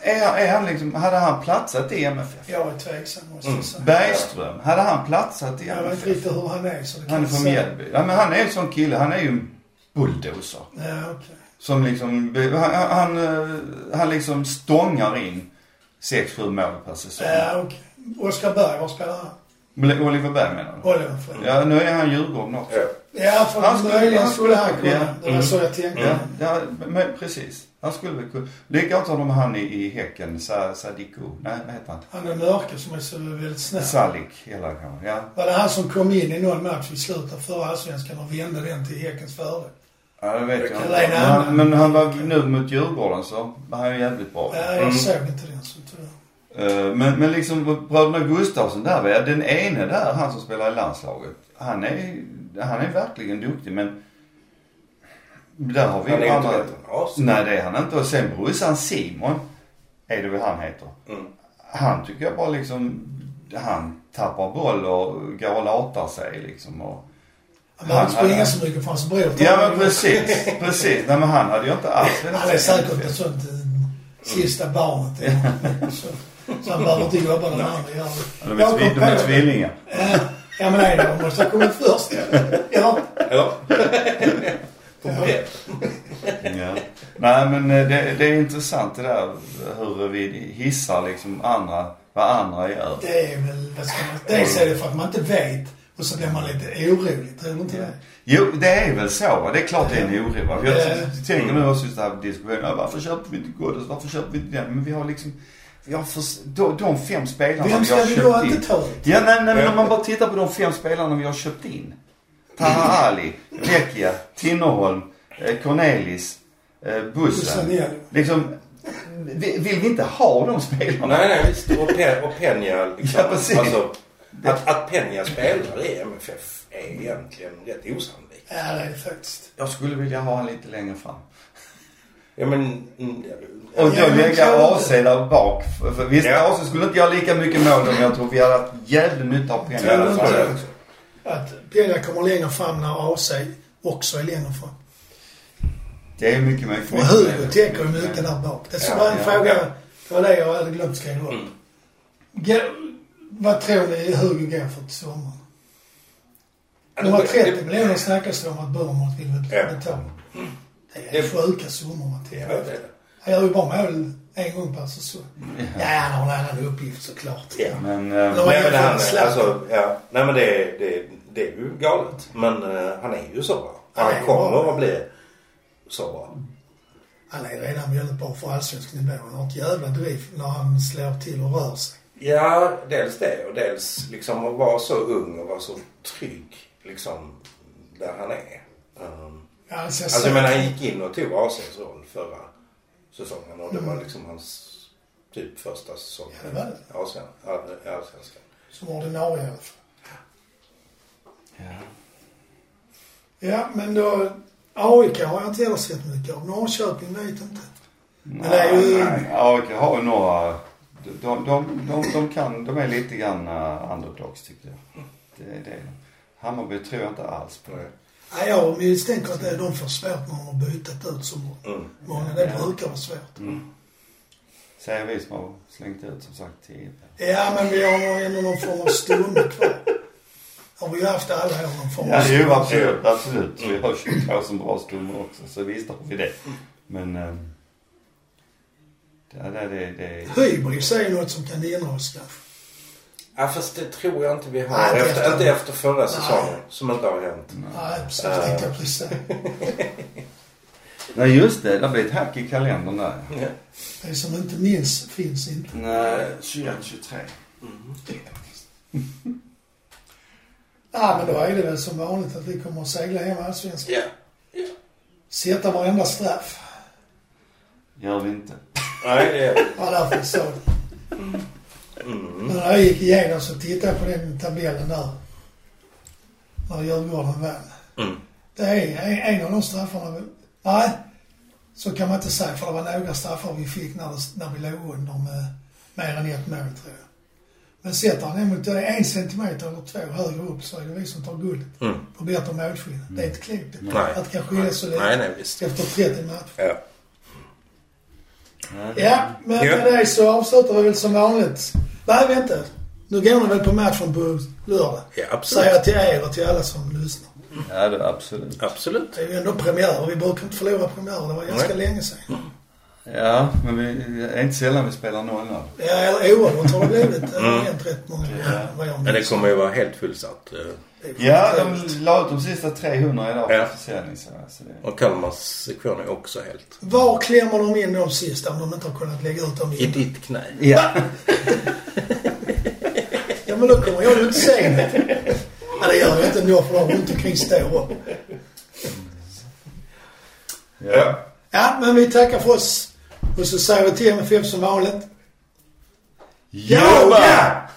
Är, han- är han liksom, hade han platsat i MFF? Jag är tveksam måste Mm. jag säga. Bergström, hade han platsat i Jag vet inte MFF? riktigt hur han är så det kan Han är jag från säga. Mjällby. Ja, men han är ju en sån kille, han är ju en bulldozer. Ja, okej. Som liksom, be- han, han, eh, han liksom stångar in 6-7 mål per säsong. Ja, okej. Oskar Berg, var spelar han? Oliver Berg menar du? Oliver Fred. Ja, nu är han Djurgården också. Ja. Ja, för Han skulle- möjligen han skulle han skulle- kunna. Det var Mm. så jag tänkte. Ja, ja men precis. Han skulle väl kunna... Likadant har de han i, i Häcken, Sa- Sadiku. Nej, vad heter han? Han är mörke som är så väldigt snäll. Salik heter han kanske. Ja. Var det han som kom in i någon match i slutet av förra allsvenskan och vände den till Häckens fördel? ja, det vet jag kan inte. vara en Men annan. han, men han var nu mot Djurgården så var han ju jävligt bra. Nej, jag såg inte den så tyvärr. Eh, Men, men liksom bröderna Gustafsson där, va, den ene där, han som spelar i landslaget. Han är, han är verkligen duktig men... Där har vi Han ju är inte andra- bättre än oss. Nej, det är han inte. Och sen brorsan Simon, är det väl han heter. Mm. Han tycker jag bara liksom, han tappar boll och går och latar sig liksom. Och... Han behöver inte Han- springa han- så mycket för hans bror Ja men precis, precis. Nej men han hade ju inte alls velat Han är se säkert MFF. ett sånt eh, sista barnet. eller så. Så han behöver inte jobba när de andra gör det. De är, tvi- de är tvillingar. Ja, ja, men nej, de måste ha kommit först. Ja, Ja. På Ja. bredd. Ja. Nej men eh, det, det är intressant det där hur vi hissar liksom andra, vad andra gör. det är väl, vad ska man, dels är det för att man inte vet och så blir man lite orolig, tror du inte det? Jo, det är väl så. va. Det är klart det är en oro. va. För Jag Ja. Mm. tänker nu också just den här diskussionen. Ja, Varför köper vi inte Ghoddos? Varför köper vi inte den? Men vi har liksom... Vi har förs- de, de fem spelarna Vem ska vi har vi då köpt inte in. ta? Ja, nej, nej, men om man bara tittar på de fem spelarna vi har köpt in. Taha Ali, Vecchia, Tinnerholm, eh, Cornelis, eh, Bussen Bussen. igen. Liksom, vi- vill vi inte ha de spelarna? Nej, nej, visst. Och, Pe- och Peña liksom. Ja, precis. Alltså, att, att Peña spelar i MFF är egentligen rätt osannolikt. Ja, det är det faktiskt. Jag skulle vilja ha han lite längre fram. Ja, men... mm, ja, Och då Ja, men lägga klart. AC där bak. För, för, visst, Ja. AC skulle inte göra lika mycket mål men jag tror vi hade haft jävligt nytta av pengar i alla tror fall. jag också. Att Pella kommer längre fram när AC också är längre fram. Det är mycket, mycket, Och mycket Hugo mer. tänker ju mycket där bak. Det är bara en ja, fråga. ja. Det var det jag hade glömt skriva upp. Ge- Vad tror ni Hugo går för till sommaren? De Alltså, har 30 miljoner snackas det om att Bournemouth vill Ja. betala. Det är sjuka summor man Ja, tittar det är på. det. Han gör ju bara mål en gång per säsong. Ja, han har en annan uppgift såklart. Ja. Men eh, De har Nej, men han, jämfört Zlatan. alltså, ja. Nej men det, är- det, är- det är ju galet. Men eh, han är ju så bra. Han Nej, kommer bra. att bli så bra. Han är redan väldigt bra för allsvensk nivå. Han har ett jävla driv när han slår till och rör sig. Ja, dels det och dels liksom att vara så ung och vara så trygg liksom där han är. Um, Ja, han ser alltså så- jag menar han gick in och tog ACs roll förra säsongen och det var liksom hans typ första säsong Ja, det var det. i Allsven- i Allsvenskan. Som ordinarie i alla fall. ja. Ja, men då... AIK har jag inte heller sett mycket av. Norrköping vet jag inte. Men det är ju... Nej, AIK har ju några... De, de, de, de, de kan... De är lite grann eh, underdogs tycker jag. Det, är det. Hammarby tror jag inte alls på. Nej. Nej, jag misstänker att det är de får svårt när de har bytt ut så Mm. många. Det brukar vara svårt. Säger vi som har slängt ut som sagt tio. Ja, men vi har nog ändå någon form av stomme kvar. Har vi ju haft alla år någon form av Ja, stomme. jo absolut. absolut. Vi har 22 som bra stummar också så visst har vi det. Men... eh, Ja, det, det, det, Hybris är ju något som kan hindra oss kanske. Ja fast det tror jag inte vi har. Nej, inte efter, efter- inte efter förra säsongen som inte har hänt. Nej, precis. Jag tänkte jag precis säga. Nej just det, det blir ett hack i kalendern där. Det som inte minns finns inte. Nej, 21, 23. Ja, men då är det väl som vanligt att vi kommer att segla hem allsvenskan. Ja. Sätta varenda straff. Gör vi inte. Nej, det är... Ja, därför jag sa det. Mm. Men när jag gick igenom så tittade jag på den tabellen där. När Djurgården vann. Mm. Det är en, en av de straffarna. vi- Nej, så kan man inte säga för det var några straffar vi fick när, det, när vi låg under med mer än ett mål tror jag. Men sätter han emot det en centimeter eller två högre upp så är det vi som tar guldet. Mm. På bättre målskillnad. Det är inte klokt Nej. att det kan skilja så Nej, lite nej visst. efter 30 matcher. Ja. Ja, men Ja. med det så avslutar vi väl som vanligt. Nej, vänta. Nu går ni väl på matchen på lördag? Ja, absolut. Säger jag till er och till alla som lyssnar. Ja, det, absolut. Absolut. Det är ju ändå premiär och vi brukar inte förlora premiärer. Det var ganska länge sedan. Ja. Men vi, det är inte sällan vi spelar 0-0. Ja, eller oavgjort har det blivit. Det har hänt rätt många gånger vad jag Mm. Ja, det minns. kommer ju vara helt fullsatt. eh, Det är Ja, de sjukt. la ut de sista 300 idag Ja. för försäljning. Så, så det, Och Kalmars sektion är också helt. Var klämmer de in de sista om de inte har kunnat lägga ut dem I innan? ditt knä. Ja, men då kommer jag ju inte se det. Ja, det gör jag inte ändå för de runt omkring står upp. Ja. Ja, men vi tackar för oss. Och så säger vi till MFF som vanligt. Jobba!